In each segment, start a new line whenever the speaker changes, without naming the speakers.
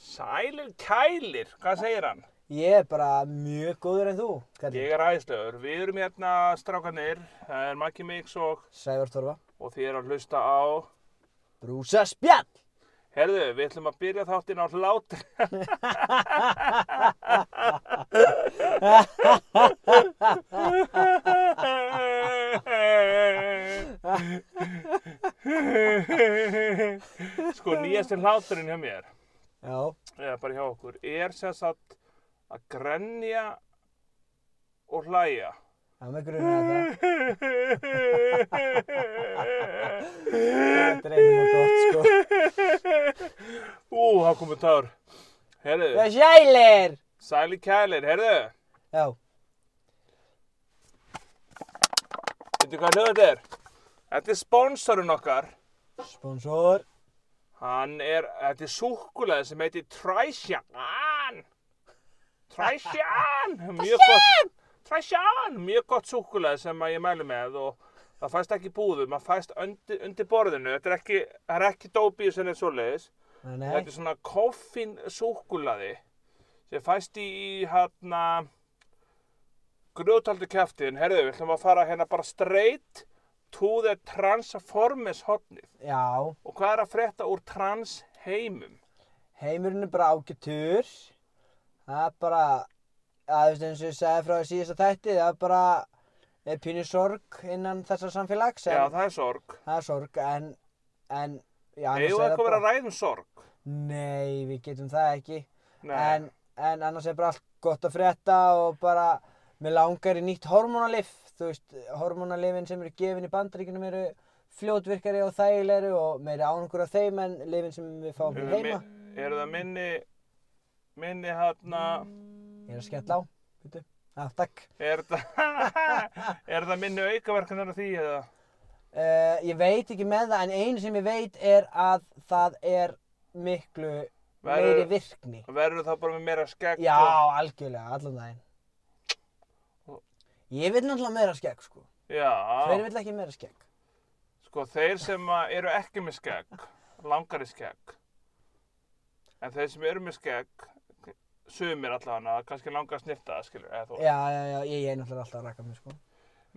Sælir kælir, hvað segir hann?
Ég er bara mjög góður en þú, Kalli.
Ég er æðislegur, við erum hérna strákanir, það er Maggi Mix og,
Sævar Torfa.
og þið er að hlusta á
Brúsa spjall!
Herðu, við ætlum að byrja þáttinn á hlátri. sko, nýjasti hláturinn hjá mér,
Já,
eða bara hjá okkur, er sem sagt að grenja og hlæja.
það með grunna þetta. Þetta er einnig og gott, sko.
Ú, það komið tár. Herðu,
Já, sælir!
sæli kælir, herðu,
Já,
veitu hvað hljóð þetta er? Þetta er sponsorinn okkar.
sponsor.
Hann er, þetta er súkulega sem heitir Træsjan. Træsjan, mjög gott. Træsjan, mjög gott súkulega sem að ég mælu með og það fæst ekki í búðum, það fæst undir, undir borðinu. Þetta er ekki, það er ekki dópið sem er svoleiðis.
Nei, nei.
Þetta er svona koffin súkulaði sem fæst í hérna grjótaldu kæftin. Herðu, við ætlum að fara hérna bara straight to the transformers hotnið.
Já,
Og hvað er að frétta úr trans heimum?
heimurinn er bara ágættur. Það er bara, að þú veist eins og ég segði frá því síðasta þætti, það er bara, er pínu sorg innan þessa samfélags. en
Já, það er sorg.
Það er sorg, en, en, já, annars
Eða eitthvað
er
verið að
bara,
ræða um sorg?
nei, við getum það ekki,
Nei.
en, en annars er bara allt gott að frétta og bara, mér langar í nýtt hormonalif, þú veist, hormonalifin sem eru gefin í bandaríkunum eru fljótvirkari og þægilegri og meiri ánungur af þeim en lifin sem við fáum
Eru
hér
það
heima,
mi- Eru það minni, minni hérna,
ég er að skella á, veitu, já, takk.
er það, er það minni aukaverkunar af því eða?
Uh, ég veit ekki með það, en einu sem ég veit er að það er miklu meiri
Verður-
virkni.
Verður það bara með meira skegg?
Já,
og-
algjörlega, allan daginn. Ég vil náttúrulega meira skegg, sko. Hver
Já,
vil ekki meira skegg?
sko þeir sem að eru ekki með skegg, langari skegg. En þeir sem eru með skegg, sumir allavega, kannski langar að snirta það, skilur, eða þú
Já, já, já, ég ég er náttúrulega alltaf að raka mig, sko.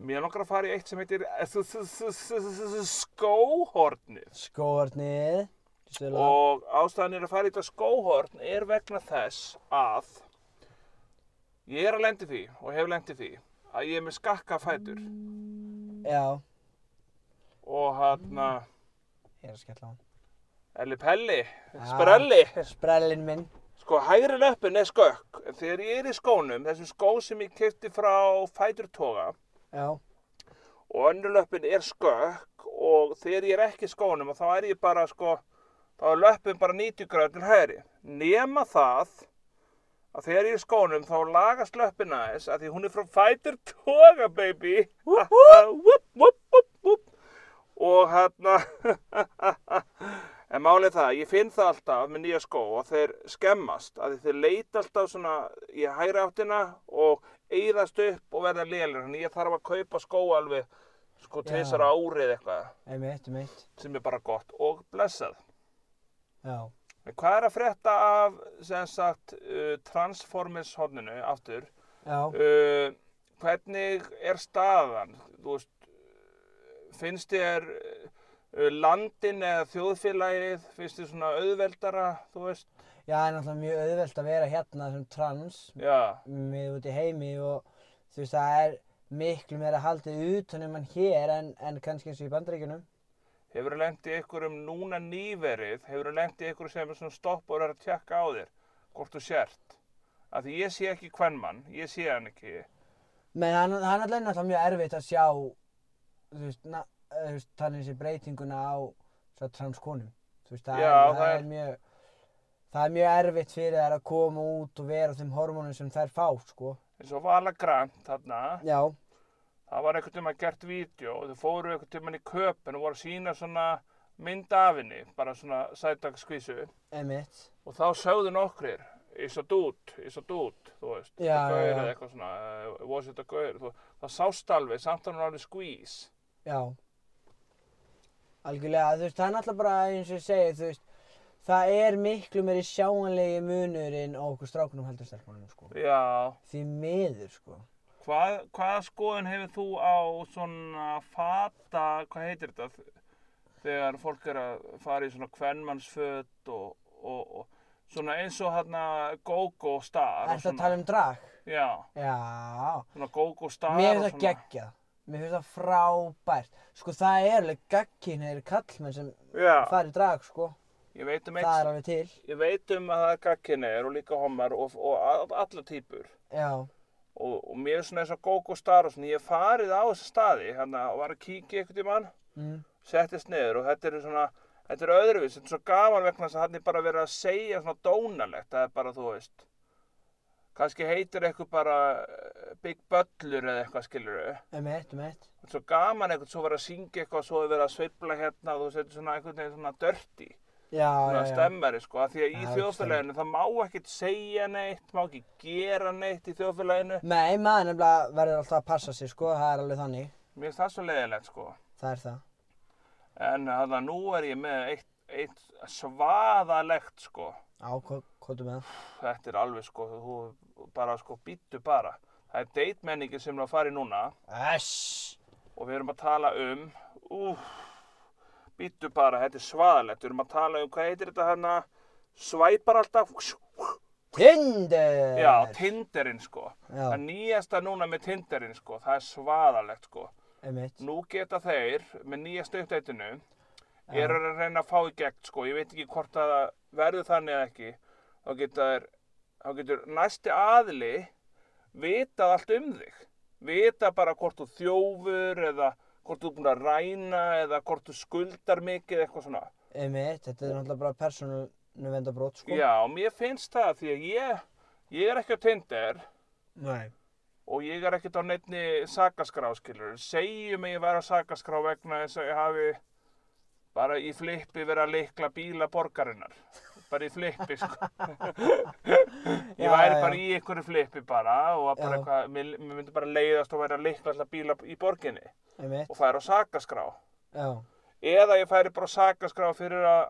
Mér langar að fara í eitt sem heitir eh, s- s- s- s- s- skóhornið
Skóarnið, stila.
og ástæðan er að fara í þetta skóhorn er vegna þess að ég er að lendi því og hef lendi því að ég er með skakka fætur
Já,
og hann
ég er að skella á hann.
Elli Pelli,
Já.
Sprelli
Sprellin minn.
sko hægri löppin er skökk en þegar ég er í skónum, þessum skó sem ég kefti frá fæturtoga
Já,
og önnur löppin er skökk og þegar ég er ekki í skónum og þá er ég bara sko þá er löppin bara 90 gráður til hægri nema það að þegar ég er í skónum þá lagast löppin aðeins að því hún er frá fætur toga baby whoop, whoop, whoop, whoop. og hérna en málið er það, ég finn það alltaf með nýja skó og þeir skemmast að þeir leita alltaf svona í hægri áttina og eyðast upp og verða lélir en ég þarf að kaupa skó alveg sko
Já.
tvisar á árið eitthvað
einmitt, einmitt.
sem er bara gott og blessað
Já.
En hvað er að frétta af, sem sagt, uh, Transformers hodninu aftur?
Já,
Uh, hvernig er staðan? Þú veist, finnst þér uh, landin eða þjóðfélagið, finnst þér svona auðveldara, þú veist?
já, það er náttúrulega mjög auðvelt að vera hérna sem trans
Já,
mið út í heimi og þú veist, það er miklu meira haldið utanum hann hér en, en kannski eins og í bandaríkjunum.
hefur þú lengt í einhverjum núna nýverið, hefur þú lengt í einhverjum sem er svona stopp og er að tjekka á þér, hvort þú sért? Af því ég sé ekki hvern mann, ég sé hann ekki.
Men hann, hann alltaf er náttúrulega mjög erfitt að sjá þú veist, na, eh, þú veist þannig sé breytinguna á svo transkonum þú veist, það,
Já,
er, það
það er-
er mjög það er mjög erfitt fyrir þær að koma út og vera á þeim hormónum sem þær fá sko.
En svo Vala Grant þarna.
já,
Það var einhvern tímann gert vídeo og þau fóru einhvern tímann í köpun og voru að sína svona mynd af henni, bara svona sætakskvísu
emitt
og þá sögðu nokkrir is a dude, is a dude, þú veist
Já,
það gaur
já, já.
eða eitthvað svona, eh, was it a gaur þú, það sást alveg, samt að hún var alveg skvís
já algjörlega, þú veist, það er náttúrulega bara eins og ég segi þú veist, það er miklu meiri sjáanlegi munurinn á okkur strákunum heldur stelpunum sko.
Já,
Því miður sko.
hvað, hvaða skoðun hefur þú á svona fata, hvað heitir þetta? Þegar fólk er að fara í svona kvennmannsföt og, og, og svona eins og hérna go-go star. og
Ertu að
svona-
tala um drag?
Já,
Já.
svona go-go star
Mér
og
finnst það
svona.
geggjað. Mér finnst það frábært. Sko það er alveg gagginn eða kallmenn sem
Já,
fara í drag sko.
ég veit um
Það er
eitt,
alveg til.
ég veit um að það er gagkinneir og líka homar og, og all- allar týpur.
Já.
og, og mér er svona eins og Gogo Star og svona, ég hef farið á þessa staði hérna og var að kíkja einhvern tímann
Mm.
settist niður og þetta er svona þetta er öðruvís, þetta er svo gaman vegna þess að hann er bara verið að segja svona dónalegt það er bara, þú veist kannski heitir eitthvað bara eh, Big Butler eða eitthvað skilur þetta
Um eitt, um eitt.
er svo gaman eitthvað, svo verið að syngja eitthvað svo er verið að sveifla hérna og þú setur svona einhvern veginn svona dirty
Já,
svona
já, já.
stemmari sko, af því að í
Já,
þjóðfélaginu það má ekkert segja neitt, má ekki gera neitt í þjóðfélaginu,
Nei, maður nefnilega verður alltaf að passa sig sko. Það er alveg þannig.
mér finnst það svo leiðilegt sko
Það er það.
En þannig að nú er ég með eitt, eitt svaðalegt sko.
Á, hvað komdu með það?
Þetta er alveg sko, þú bara sko býttu bara. Það er deitmenningi sem er að fara í núna
Æss.
og við erum að tala um, úf, býttu bara, þetta er svaðalegt. Við erum að tala um, hvað heitir þetta hérna, svæpar alltaf,
Tinder!
já, Tinderinn sko.
Já.
Það nýjasta núna með Tinderinn sko, það er svaðalegt sko.
Einmitt.
Nú geta þeir með nýjasta uppdætinu eru að reyna að fá í gegn sko, ég veit ekki hvort að það verður þannig eða ekki þá geta þeir þá getur næsti aðli vitað allt um þig vita bara hvort þú þjófur eða hvort þú er búin að ræna eða hvort þú skuldar mikið eða eitthvað svona
Einmitt. Þetta er náttúrulega bara persónu venda brot sko.
Já, mér finnst það því að ég ég er ekki á Tinder
Nei.
og ég er ekkert á nefni sakaskráskilur segjum að ég væri á sakaskrá vegna þess að ég hafi bara í flippi verið að leikla bíla borgarinnar bara í flippi sko. ég
Já,
væri
já.
bara í einhverju flippi bara og að bara
Já.
eitthvað, mér, mér myndi bara leiðast og væri að leikla alltaf bíla í borginni
Einmitt.
og færi á sakaskrá
Já.
eða ég færi bara á sakaskrá fyrir að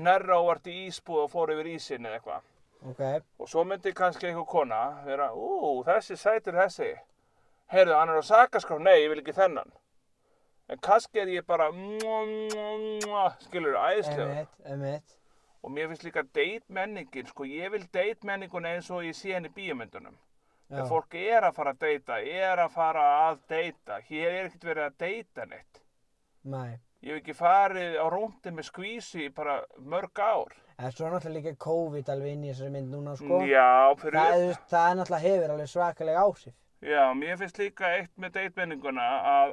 nærra og vart í ísbúð og fór yfir ísinn eða eitthvað
Ok.
Og svo myndi kannski einhver kona vera, ú, þessi sætur þessi. Heyrðu, hann er á sakaskrá, nei, ég vil ekki þennan. En kannski er ég bara, mua, mua, mua, skilur, æðislega.
Einmitt. Einmitt.
Og mér finnst líka deitmenningin, sko, ég vil deitmenningun eins og ég sé henni í bíómyndunum.
Já.
En fólk er að fara að deyta, er að fara að deyta. Hér er ekkert verið að deyta neitt.
Nei.
Ég hef ekki farið á rúndin með skvísi í bara mörg ár.
En svo er náttúrulega líka COVID alveg inn í þessari mynd núna sko.
Já, fyrir
Það, er- það er náttúrulega hefur alveg svakalega áhrif.
Já, mér finnst líka eitt með deitmenninguna að að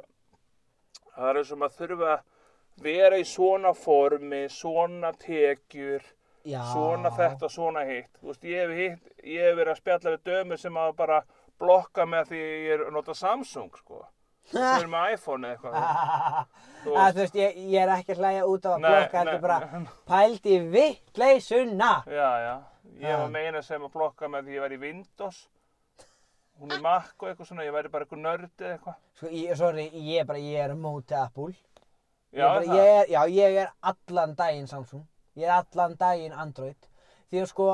það er sem að þurfa að vera í svona formi, svona tekjur,
Já.
svona þetta, svona hitt. Þú veist, ég hef, hitt, ég hef verið að spjalla við dömu sem að bara blokka með því ég er að nota Samsung, sko. Þú er með iPhone eða eitthvað. Þú
að, þú veist, ég, ég er ekki að hlæja út af að
Nei,
blokka
nei,
þetta er bara
nei.
pældi vittleysuna.
Já, já. Ég
Ha.
var meina sem að blokka með því ég væri í Windows. Hún er Mac og eitthvað svona, ég væri bara eitthvað nörd eða eitthvað.
Sko, ég, sorry, ég er bara, ég er á móti Apple. Ég
Já,
er bara,
það.
ég er, já, ég er allan daginn Samsung. Ég er allan daginn Android. Því að sko,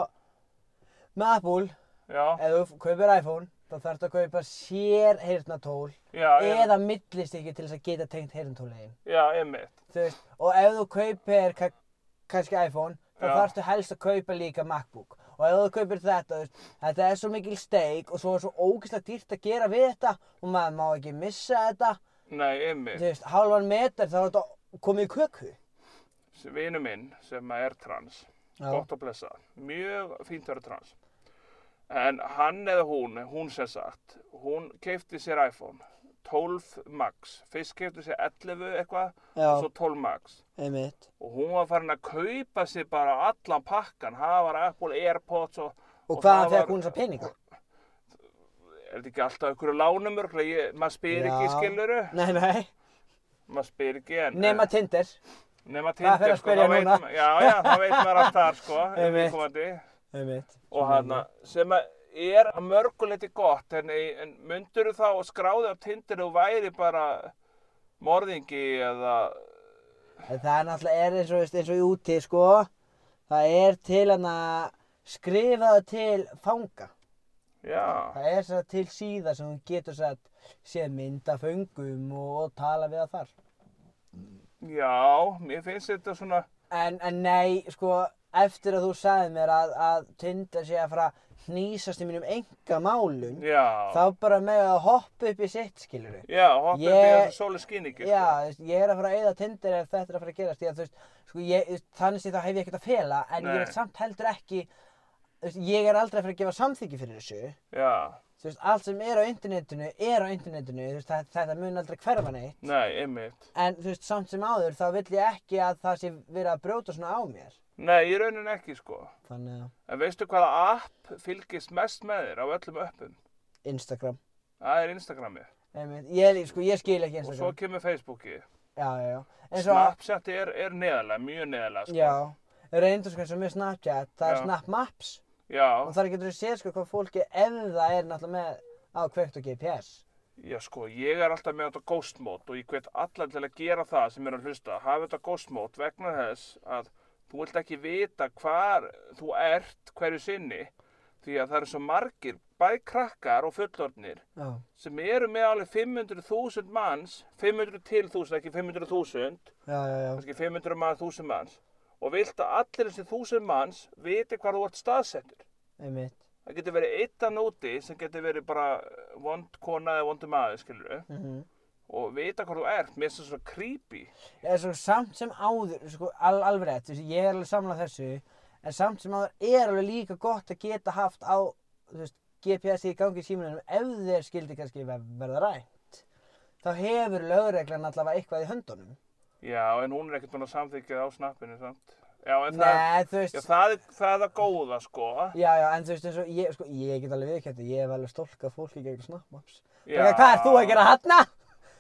með Apple,
Já,
ef þú kaupir iPhone, þá þarfst að kaupa sér heyrnatól
já, ég,
eða millistykki til þess að geta tengt heyrnatólegin.
já, einmitt.
Þú veist, og ef þú kaupir ka kannski iPhone, þá
Já.
þarfstu helst að kaupa líka MacBook. Og ef þú kaupir þetta, þú veist, þetta er svo mikil steik og svo er svo ógeðslega dýrt að gera við þetta og maður má ekki missa þetta.
Nei, einmitt.
Þú veist, hálfan meter þá er þetta komið í köku.
vinnu minn sem er trans
Já.
gott og blessa, mjög fínt að vera trans en hann eða hún hún sem sagt, hún keipti sér iPhone 12 Max, fyrst keipti sér 11 eitthvað
Já.
og svo 12 Max
Einmitt.
og hún var farin að kaupa sér bara allan pakkan, það var Apple Airpods og,
Og,
og
hvaðan
það
fekk
var-
hún þessa peninga?
er þetta ekki alltaf ykkur lánum örugglega? Ég- maður spyr ekki
Já.
skiluru
Nei, nei.
maður spyr ekki en
Nema Tinder.
nema
Það fer
tindir
að spyrja
þá veit
núna.
ma- já, já, það veit maður allt þar sko,
Einmitt.
viðkomandi.
Einmitt.
og hana, sem að er að mörguleiti gott en, en myndur þá að skráði á Tinder og væri bara morðingi eða
En Það er náttúrulega er eins og, veist, eins og í úti, sko. það er til hana skrifaða til fanga
Já,
það er sér til síða sem hún getur sér að sé mynda föngum og, og tala við það þar
já, mér finnst þetta svona,
en, en nei, sko eftir að þú sagði mér að, að Tinder sé að fara að hnýsast í mínum enga málum
já,
þá bara með að hoppa upp í sitt skilur
já, hoppa upp í
Ég-
þessu sko. sólu skýningi,
Já, þú veist, ég er að fara að eyða Tinder ef þetta er að fara að gerast ég, þú veist, sko, ég, þú veist, þannig sé þá hef ég ekkert að fela en ég
Nei.
er samt heldur ekki þú veist, ég er aldrei að fara að gefa samþyggi fyrir þessu þú
Já,
veist, allt sem er á internetinu er á internetinu þú veist, það, þetta mun aldrei hverfa neitt
nei, einmitt.
en þú veist, samt sem áður þá vill ég ekki að það sé verið að brjóta svona á mér
Nei, í raunin ekki, sko.
þannig að
En veistu hvaða app fylgist mest með þér á öllum öppum?
Instagram
Það er Instagramið.
Einmitt. Ég, lí- sko, ég skil ekki
Og svo
Instagram
kemur Facebookið.
Já, já, já En svo,
Snapchat er, er neðalega, mjög neðalega, sko.
já Reyndu sko eins og með Snapchat, það
Já.
er Snap Maps Og
Já,
þar getur þú séð sko hvað fólki ef það er náttúrulega með á kveikt og GPS
já, sko, ég er alltaf með þetta ghost mode og ég hvet allar til að gera það sem er að hlusta. Hafa þetta ghost mode vegna þess að þú vilt ekki vita hvar þú ert hverju sinni því að það eru svo margir, bæði krakkar og fullorðnir
Já,
sem eru með alveg 500.000 manns, 500 til 1000, ekki 500.000,
já, já, já
kannski 500 manns, 1000 manns og vilt að allir þessi 1000 manns viti hvar þú ert staðsettur.
Einmitt
Það getur verið eitt að nóti sem getur verið bara eh, vond kona eða vondum maður, skilur við.
mm -hmm.
Og vita hvað þú ert, mér finnst það svo creepy.
Eða svo samt sem áður, sko al, alveg rétt, þú veist, ég er alveg samlað þessu En samt sem áður er alveg líka gott að geta haft á, þú veist, GPS í gangi í símanum Ef þeir skildi kannski ver- verða rænt Þá hefur lögreglan allavega eitthvað í höndunum
Já, en hún er ekkert búin að samþykja það á snappinu samt. Já, en það,
Nei, þú
já,
veist,
það, er, það er það góða, sko.
já, já, en þú veist eins og ég, sko, ég get alveg viðkjöndi, ég hef alveg stólkað fólki gegn snappmaps.
Já.
Bara, hvað er þú að gera þarna?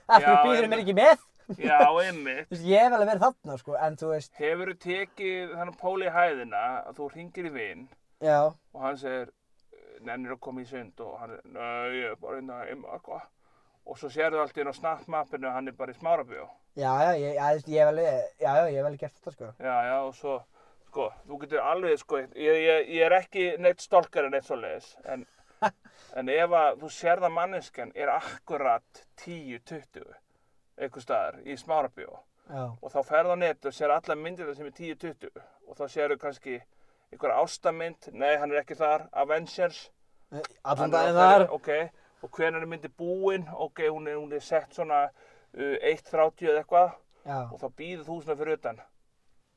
Af
Já,
hverju býður
einmitt.
mér ekki með?
Já, einmitt.
Þú veist, ég hef alveg verið þarna, sko, en þú veist,
Hefur þú tekið þannig pól í hæðina að þú ringir í vinn
já,
og hann segir, nennir að koma í sund og hann er, nö, ég er bara einna, einna, eitthvað. Og svo sérðu allt í enn á snappmappinu að hann er bara í smárabjó.
já, já, ég, já, þú veist, ég hef alveg, já, já, ég hef alveg gert þetta, sko.
Já, já, og svo, sko, þú getur alveg, sko, ég, ég, ég er ekki neitt stolkar en neitt svo leiðis, en, en ef að þú sér það manneskan er akkurat 10-20 einhver staðar í smárabjó
Já,
og þá ferð á net og sér alla myndirna sem er 10-20 og þá sérðu kannski einhver ástamynd, nei, hann er ekki þar, Avengers,
allan
Hann er á
daginn
þeirri-
þar,
ok, og hvernig er myndi búin, ok, hún er, hún er sett svona uh, 1.30 eða eitthvað
já,
og þá býður þú svona fyrir utan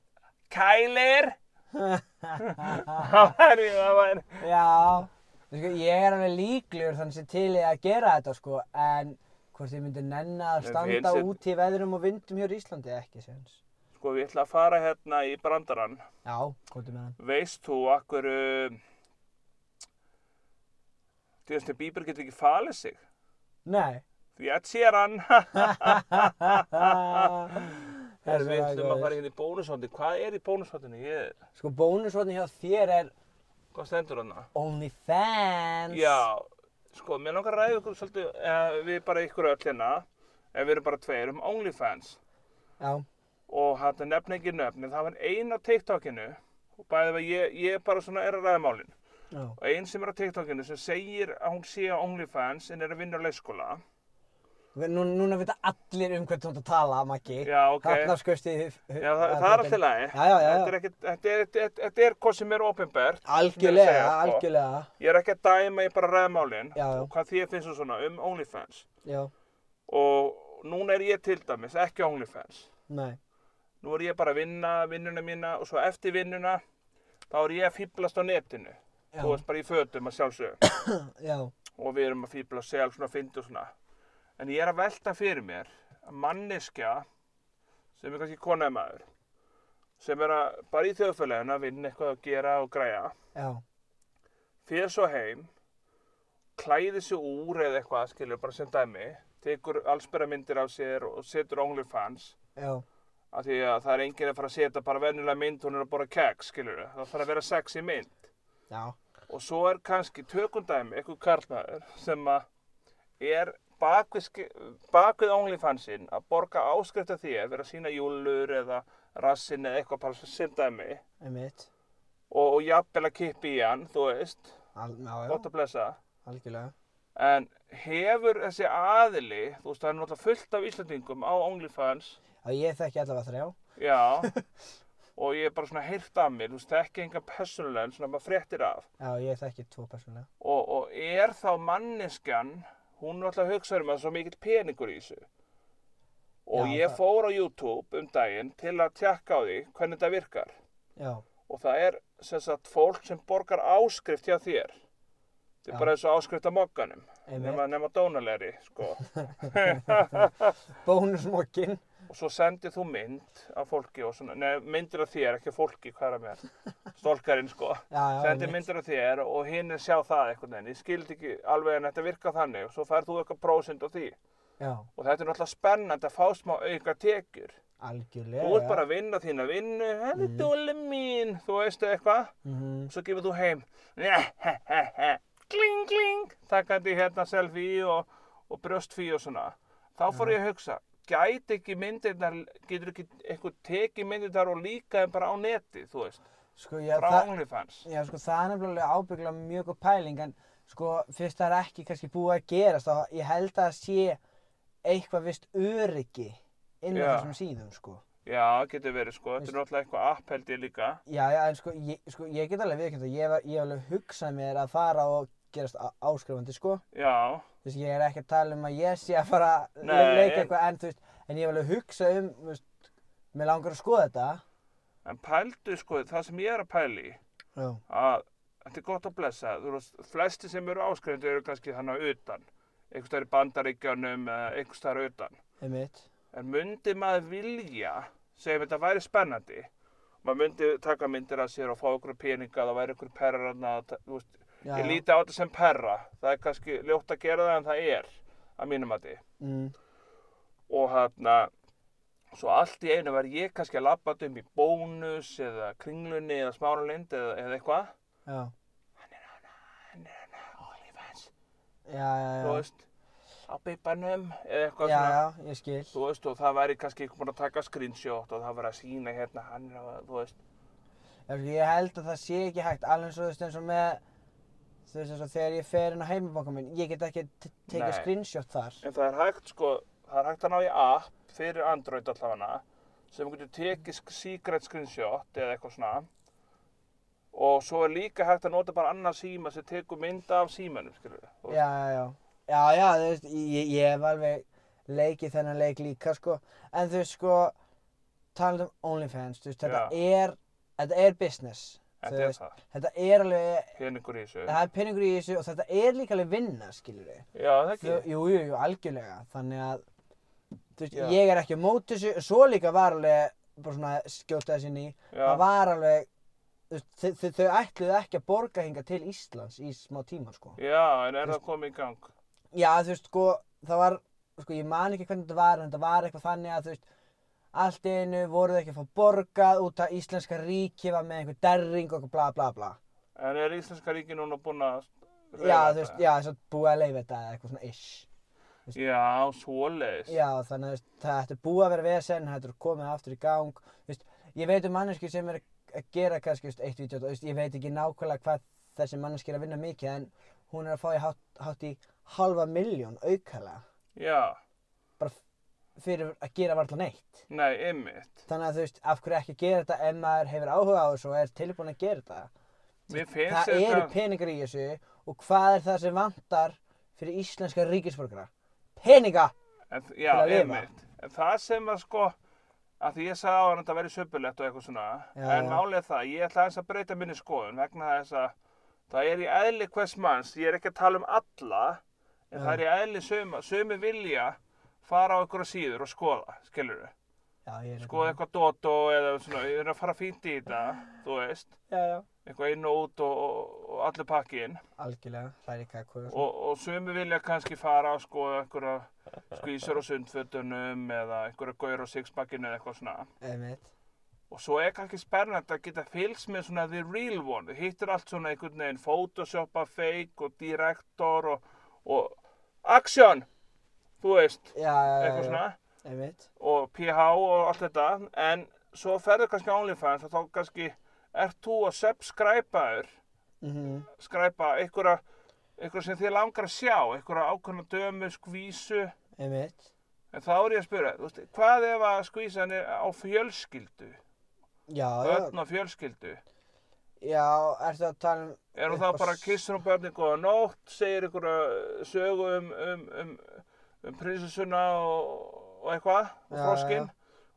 Kælir það væri það væri
já, þú veist, sko, ég er alveg líklegur þannig sem til ég að gera þetta, sko, en hvort ég myndi nenna að
Mér
standa
finnst þetta-
úti í veðrum og vindum hér í Íslandi, ekki, séðans.
sko ég ætla að fara hérna í brandarann
Já, komdu með hann.
veist þú akkur uh, Justin Bieber getur ekki falið sig
Nei.
því að sér hann við
Herðu, það
ætlum
er
að
góðir.
fara hérna í bónushondi hvað er í bónushottinu? Ég,
Sko bónusvotni hjá þér er
hvað stendur hann?
OnlyFans
Já, sko, mér langar að ræða ykkur svolítið, eh, við bara ykkur öll hérna en við erum bara tveir um OnlyFans
Já,
og hann nefna ekki nöfn en það var ein á TikTokinu og bæði að ég, ég bara svona er að ræða málin
já,
og ein sem er á TikTokinu sem segir að hún sé á OnlyFans en er að vinna á leikskóla
Við- nú, núna vita allir um hvernig þú ert að tala, Maggi
Já, ok.
Þarna skust í
Já, það, það er alltaf lagi
Já, já, já, já.
Þetta er ekkit- þetta er- þetta- Þetta er hvað sem er ofinbært Ég
Algjörlega,
er að segja, sko.
algjörlega
Ég er ekki að dæma, ég er bara að ræða málin
Já, já.
og hvað því finnst þú svona um OnlyFans
Já,
og núna er ég til dæmis ekki á OnlyFans
nei,
Nú er ég bara að vinna vinnuna mína og svo eftir vinnuna þá er ég að fýblast á netinu
Já.
Þú veist bara í fötum að sjálfsögum
já,
og við erum að fýbla að segja alls svona fyndi og svona en ég er að velta fyrir mér að manneskja sem er kannski konaði maður sem er að bara í þjóðfélaginu að vinna eitthvað að gera og græja
já,
fyrir svo heim klæði sig úr eða eitthvað skilur bara sem dæmi tekur allsbera myndir af sér og setur OnlyFans
já
af því að það er enginn að fara að setja bara venjulega mynd hún er að bora keks skilur það þarf að vera sexy mynd
Já,
Og svo er kannski tökundæmi einhver karlmaður sem að er bakvið, sk- bakvið OnlyFansinn að borga áskrifta því að vera að sína júlur eða rassin eða eitthvað bara sem dæmi
einmitt
og, og jafnvel að kippi í hann, þú veist,
Al, já, já,
gott að blessa.
algjörlega.
En hefur þessi aðili, þú veist, það er náttúrulega fullt af Íslandingum á OnlyFans,
Að ég þekki allavega þrjá.
já, og ég er bara svona heyrt af mér, þú veist, ekki enga persónulega, en svona maður fréttir af.
Já, ég þekki tvo persónulega.
Og, og er þá manneskjan, hún náttúrulega hugsaður um að það er svo mikill peningur í þessu. Og
Já,
ég
það-
fór á YouTube um daginn til að tjekka á því hvernig þetta virkar.
Já,
og það er sem sagt fólk sem borgar áskrift hjá þér þetta
Já.
er bara þessu áskrift af mokkanum
einmitt.
nema, nema dónalegri sko.
Bónusmokkin.
og svo sendir þú mynd af fólki og svona, nei, myndir af þér, ekki af fólki hvað er að mér, stólkarinn sko
Já, já,
sendir myndir af þér og hinn er sjá það einhvern veginn, ég skildi ekki alveg en þetta virka þannig og svo færð þú eitthvað prósind á því
Já,
og þetta er náttúrulega spennandi að fá smá auka tekjur
algjörlega.
þú ert bara að vinna þína vinnu henni mm. dóli mín, þú veistu eitthvað
Mhm.
svo gefur þú heim kling kling takkandi hérna selfie og, og brjóstfí og svona þá fór ég að hugsa gæti ekki myndirnar getur ekki eitthvað tekið myndirnar og líka þeim bara á neti þú veist
Sko, já,
frá
það,
OnlyFans
já, sko, það er nefnilega ábyggla mjög góð pæling, en sko, fyrst það er ekki kannski búið að gerast, þá ég held að það sé eitthvað vist öryggi inn á
Já.
þessum síðum, sko.
já getur verið sko þetta
Veist-
er náttúrulega eitthvað app held ég líka
Já, já, en sko, ég, sko, ég get alveg viðkjönd að ég hef, ég hef alveg hugsað mér að fara og gerast á- áskrifandi, sko.
já
Þú veist, ég er ekki að tala um að ég sé að fara að
Nei,
le- leika
en-
eitthvað, en þú veist, en ég hef alveg hugsað um, þú veist, mér langar að skoða þetta.
en pældu sko það sem ég er að pæli
Já.
að þetta er gott að blessa þú veist flesti sem eru áskrifundu eru kannski þannig að utan einhvers staðar í bandaríkjanum eða einhvers staðar utan
Einmitt.
En myndi maður vilja, segjum þetta væri spennandi, maður myndi taka myndir að sér og fá ykkur peninga, það væri ykkur perrar þarna, það- þú veist,
Já,
ég líti á þetta sem perra, það er kannski ljótt að gera það en það er, að mínum að
Mm,
Og hérna, svo allt í einu verð ég kannski að labba þetta um í bónus eða kringlunni eða smáralind eða, eða eitthvað.
já,
Hann er hann að OnlyFans,
já, já, já.
þú veist, á bipanum eða eitthvað
Já,
svona.
já, ég skil.
Þú veist, og það væri kannski einhvern veginn að taka screenshot og það væri að sína hérna hann, er að- þú veist,
Já, sko, Ég held að það sé ekki hægt, alveg eins og þú veist eins og með, þú veist eins og þegar ég fer inn á heimabanka minn, ég get ekki t- tekið
Nei.
screenshot þar.
En það er hægt sko, það er hægt að ná í app fyrir Android allavega sem getur tekið sk- secret screenshot eða eitthvað svona og svo er líka hægt að nota bara annað síma sem tekur mynda af símanum, skilur við. Þú veist.
Já, já, já. Já, já, þú veist, ég, ég hef alveg leikið þennan leik líka, sko. En þú veist, sko, talað um OnlyFans, þú veist, þetta er, þetta er business.
Þetta
þú
er
veist.
það.
Þetta er alveg,
Peningur í þessu.
það er peningur í þessu og þetta er líka alveg vinna, skilur við.
Já, það
Jú,
ekki.
jú, jú, algjörlega. Þannig að, þú veist,
Já.
ég er ekki á móti þessu, svo líka var alveg, bara svona að skjóta þessi ný,
Já.
það var alveg, þú veist, þau, þau, þau ætluðu ekki að borga hinga til Íslands í smá tíma, sko.
Já, en er það komið í gang?
Já, þú veist, sko, það var, sko, ég man ekki hvernig þetta var, en þetta var eitthvað þannig að, þú veist, allt í einu voru þau ekki að fá borgað út að íslenska ríki var með einhver derring og eitthvað bla bla bla.
En er Íslenska ríki núna búin að... leyfa
Já, þú
þetta?
veist, já, þess að búið að leifa þetta eða eitthvað svona ish.
Já, svoleiðis.
Já, þannig að þú veist, það ætti búið að vera vesen, það ætti komið aftur í gang, þú veist, ég veit um manneski sem er að gera kannski, þú veist, eitt vídeo, þú veist, ég veit ekki nákvæmlega hvað þessi manneski er að vinna mikið, en hún er að fá í hátt, hátt í halva miljón aukalega,
Já.
bara f- fyrir að gera varla neitt.
Nei, ymmit.
Þannig að þú veist, af hverju ekki gera þetta ef maður hefur áhuga á þessu og er tilbúin að gera þetta.
Mér finnst
Það eru peningar í þessu og hvað er það sem vantar fyrir íslenska ríkisborgara? Peninga!
En, þ- já,
að lifa.
einmitt. En það sem að sko, að því ég sagði á hann að þetta væri söpulegt og eitthvað svona,
Já,
en
já.
málið er það, ég ætla aðeins að breyta minni skoðun vegna þess að það er í eðli hvers manns, ég er ekki að tala um alla, en það er í eðli söma, sömu vilja fara á einhverja síður og skoða, skilur við.
Já, ég er hérna.
Skoða Sko, eitthvað dótó eða svona, ég er að fara fínt í þetta, þú veist,
Já, já.
eitthvað inn og út og, og, og allur pakkin
Algjörlega, hræri kakku. Og...
og, og sömu vilja kannski fara að skoða einhverja skvísur á sundfötunum eða einhverja gaur á sixpackinu eða eitthvað svona
Einmitt.
og svo er kannski spennandi að geta fylgst með svona the real one þú hittir allt svona einhvern veginn photoshopa fake og director og, og action þú veist,
Já, já, já.
eitthvað
já.
svona
Einmitt.
og PH og allt þetta en svo ferður kannski á OnlyFans og þá kannski ert þú að subscribe-aður,
Mhm.
skræpa einhverja, einhverja sem þið langar að sjá, einhverja ákveðna dömu, skvísu,
Einmitt.
en þá er ég að spura, þú veist, hvað ef að skvísan er á fjölskyldu,
Já, já,
börn á fjölskyldu?
já, ertu að tala um,
Er hún
Upp
þá
á
bara
s-
kissur hún börnin góða nótt, segir einhverja sögu um, um, um, um prinsessuna og, og eitthvað, og
Já, já,
froskinn,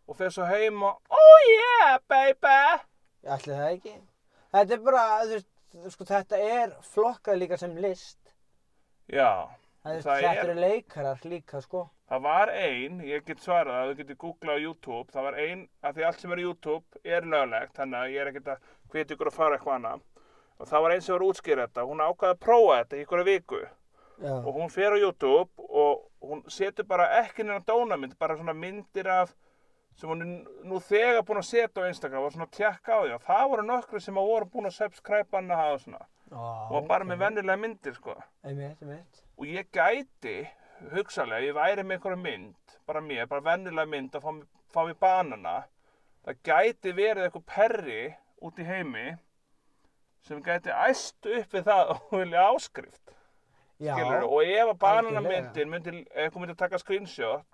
og fer svo heim og, oh yeah, baby!
ætli það ekki? Þetta er bara, þú veist, sko þetta er flokkað líka sem list.
Já,
Það,
Það
það
er-
þetta eru leikarar líka, sko.
það var ein, ég get svarað það, þú getur googlað á YouTube, það var ein, af því allt sem er í YouTube er löglegt, þannig að ég er ekkert að hvita ykkur að fara eitthvað annað. Og það var einn sem var að útskýra þetta, hún ákvaði að prófa þetta í ykkur viku.
Já,
og hún fer á YouTube og hún setur bara ekki neina dónamynd, bara svona myndir af sem hún er nú þegar búin að setja á Instagram og svona tjekka á því og það voru nokkru sem að voru búin að subscribe hana og svona
Ó,
og bara með vennilega myndir sko
Einmitt, einmitt.
og ég gæti hugsalega, ég væri með einhverja mynd bara mér, bara vennilega mynd að fá, mér- fá mér banana það gæti verið eitthvað perri út í heimi sem gæti æst upp við það og vilja áskrift
Já,
skilur, og ef að bananamyndin
algjörlega.
myndi, eitthvað myndi taka screenshot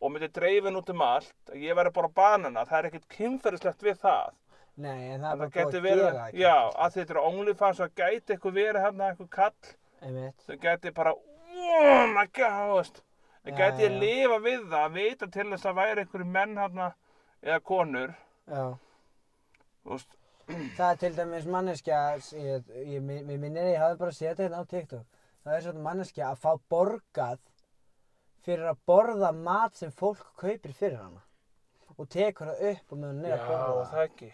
og myndi dreifin út um allt að ég væri bara banana, það er ekkert kynferðislegt við það,
nei, en það er
það
bara búið
geti
að
verið
gera það. ekki.
já, að þetta eru OnlyFans og gæti eitthvað verið hérna eitthvað kall
Einmitt,
sem gæti bara, oh my god en
Já,
gæti ég
já.
lifa við það vita til þess að væri einhverju menn hérna eða konur,
já.
þú veist
Það er til dæmis manneskja, ég, ég, mig mig minnir að ég hafði bara setið þetta hérna á TikTok. Það er svona manneskja að fá borgað fyrir að borða mat sem fólk kaupir fyrir hana. Og tekur það upp og meðan hún er að borða
það ekki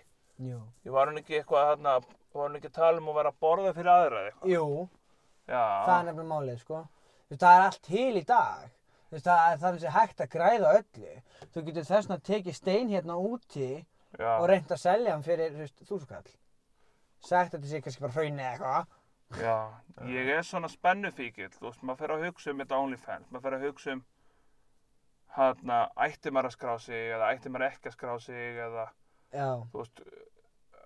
Jú.
ég var hann ekki eitthvað hérna, var hann ekki að tala um að vera að borða fyrir aðra eða eitthvað
Jú,
já,
það er nefnilega málið, sko. Þú veist, það er allt til í dag. Þú veist, það er þannig sem hægt að græða á öllu. Þú getur þess vegna tekið stein hérna úti
já.
og reynt að selja hann fyrir, þú veist, þúsukall. Sagt að þetta sé kannski bara hraunni eða eitthvað.
Já, ég er svona spennufíkild, þú veist, maður fer að hugsa um þetta OnlyFans, maður fer að hugsa um hérna, ætti maður að skrá sig eða ætti maður ekki að skrá sig eða,
Já,
þú veist, uh,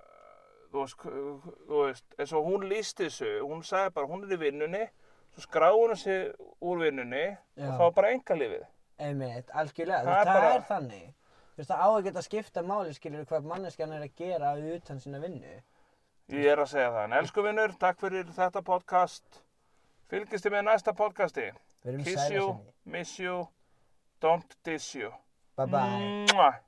þú veist, k- þú veist, eins og hún lísti þessu, hún sagði bara, hún er í vinnunni, svo skrá hún sig úr vinnunni
Já.
og þá er bara engalífið.
Einmitt, algjörlega,
Það
það,
er
það
bara-
er þannig Þú veist, það á ekki að skipta máli skilur hvað manneskjan er að gera utan sína vinnu
Ég er að segja það, en elsku vinnur, takk fyrir þetta podcast, fylgist þið með næsta podcasti,
Við erum
kiss
sæla
you,
sinni
miss you, don't diss you.
Bye bye
Mwah.